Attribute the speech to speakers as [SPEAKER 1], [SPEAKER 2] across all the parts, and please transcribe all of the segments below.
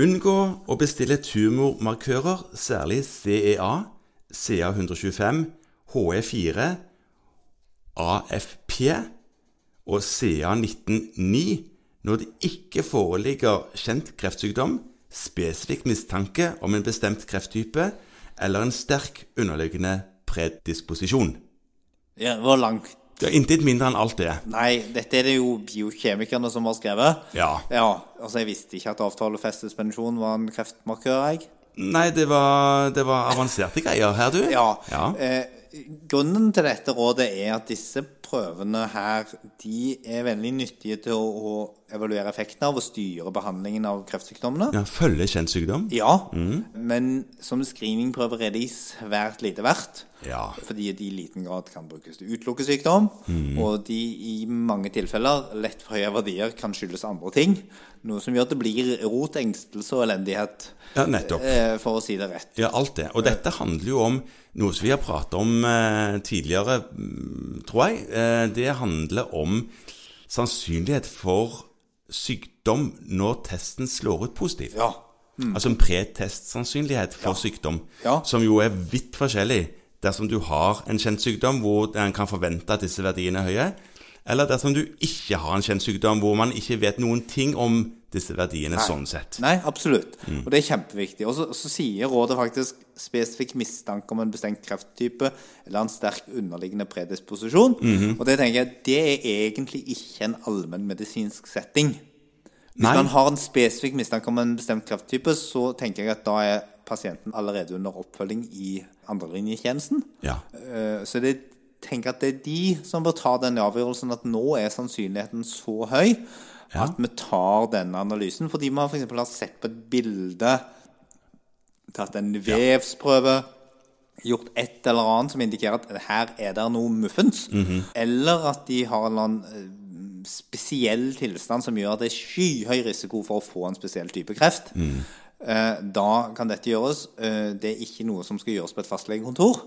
[SPEAKER 1] Unngå å bestille tumormarkører, særlig E CEA, CA125, HE4, AFP og CA199 når det ikke foreligger kjent kreftsykdom, spesifikk mistanke om en bestemt krefttype eller en sterk underliggende predisposisjon.
[SPEAKER 2] Ja, det var langt.
[SPEAKER 1] Det er intet mindre enn alt det.
[SPEAKER 2] Nei, dette er det jo biokjemikerne som har skrevet.
[SPEAKER 1] Ja.
[SPEAKER 2] altså Jeg visste ikke at avtalefestespensjon var en kreftmarkør, jeg.
[SPEAKER 1] Nei, det var, det var avanserte greier her, du.
[SPEAKER 2] Ja.
[SPEAKER 1] Ja.
[SPEAKER 2] Eh, grunnen til dette rådet er at disse prøvene her de er veldig nyttige til å, å evaluere effekten av og styre behandlingen av kreftsykdommene.
[SPEAKER 1] Ja, Mm. følge kjent sykdom.
[SPEAKER 2] Ja, men som screeningprøver er de svært lite verdt.
[SPEAKER 1] Ja.
[SPEAKER 2] Fordi de i liten grad kan brukes til å utelukke sykdom, og de i mange tilfeller lett for høye verdier kan skyldes andre ting. Noe som gjør at det blir rot, engstelse og elendighet,
[SPEAKER 1] Ja, nettopp.
[SPEAKER 2] eh, for å si det rett.
[SPEAKER 1] Ja, alt det. Og dette handler jo om noe som vi har pratet om eh, tidligere, mm, tror jeg. Eh, det handler om sannsynlighet for sykdom når testen slår ut positivt.
[SPEAKER 2] Ja. Mm.
[SPEAKER 1] Altså en pretestsannsynlighet for sykdom,
[SPEAKER 2] Ja.
[SPEAKER 1] som jo er vidt forskjellig dersom du har en kjent sykdom hvor en kan forvente at disse verdiene er høye, eller dersom du ikke har en kjent sykdom hvor man ikke vet noen ting om disse verdiene sånn sett.
[SPEAKER 2] Nei, absolutt. Og det er kjempeviktig. Og så, så sier rådet faktisk spesifikk mistanke om en bestemt krefttype eller en sterk underliggende predisposisjon. Og det tenker jeg, det er egentlig ikke en allmennmedisinsk setting. Hvis
[SPEAKER 1] Nei.
[SPEAKER 2] man har en spesifikk mistanke om en bestemt krefttype, så tenker jeg at da er pasienten allerede under oppfølging i andrelinjetjenesten.
[SPEAKER 1] Ja.
[SPEAKER 2] Eh, Så det, tenker at det er de som bør ta den avgjørelsen at nå er sannsynligheten så høy
[SPEAKER 1] Ja.
[SPEAKER 2] at vi tar denne analysen. Fordi man f.eks. har sett på et bilde, tatt en vevsprøve, gjort et eller annet som indikerer at her er det noe muffens.
[SPEAKER 1] Mhm.
[SPEAKER 2] Eller at de har en eller annen eh, spesiell tilstand som gjør at det er skyhøy risiko for å få en spesiell type kreft.
[SPEAKER 1] Mhm.
[SPEAKER 2] Eh, Da kan dette gjøres. Eh, Det er ikke noe som skal gjøres på et fastlegekontor.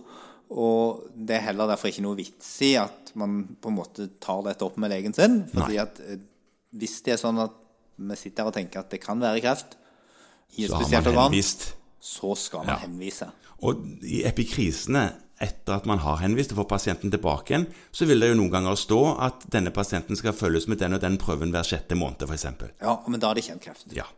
[SPEAKER 2] Og det er heller derfor ikke noe vits i at man på en måte tar dette opp med legen sin. Fordi at eh, hvis det er sånn at vi sitter her og tenker at det kan være kreft i et
[SPEAKER 1] Da har
[SPEAKER 2] spesielt
[SPEAKER 1] man
[SPEAKER 2] organ,
[SPEAKER 1] henvist.
[SPEAKER 2] så skal man
[SPEAKER 1] Ja.
[SPEAKER 2] henvise.
[SPEAKER 1] Og i epikrisene, etter at man har henvist og får pasienten tilbake igjen, så vil det jo noen ganger stå at denne pasienten skal følges med den og den prøven hver sjette måned, f.eks.
[SPEAKER 2] Ja, men da er det kjent kreft.
[SPEAKER 1] Ja.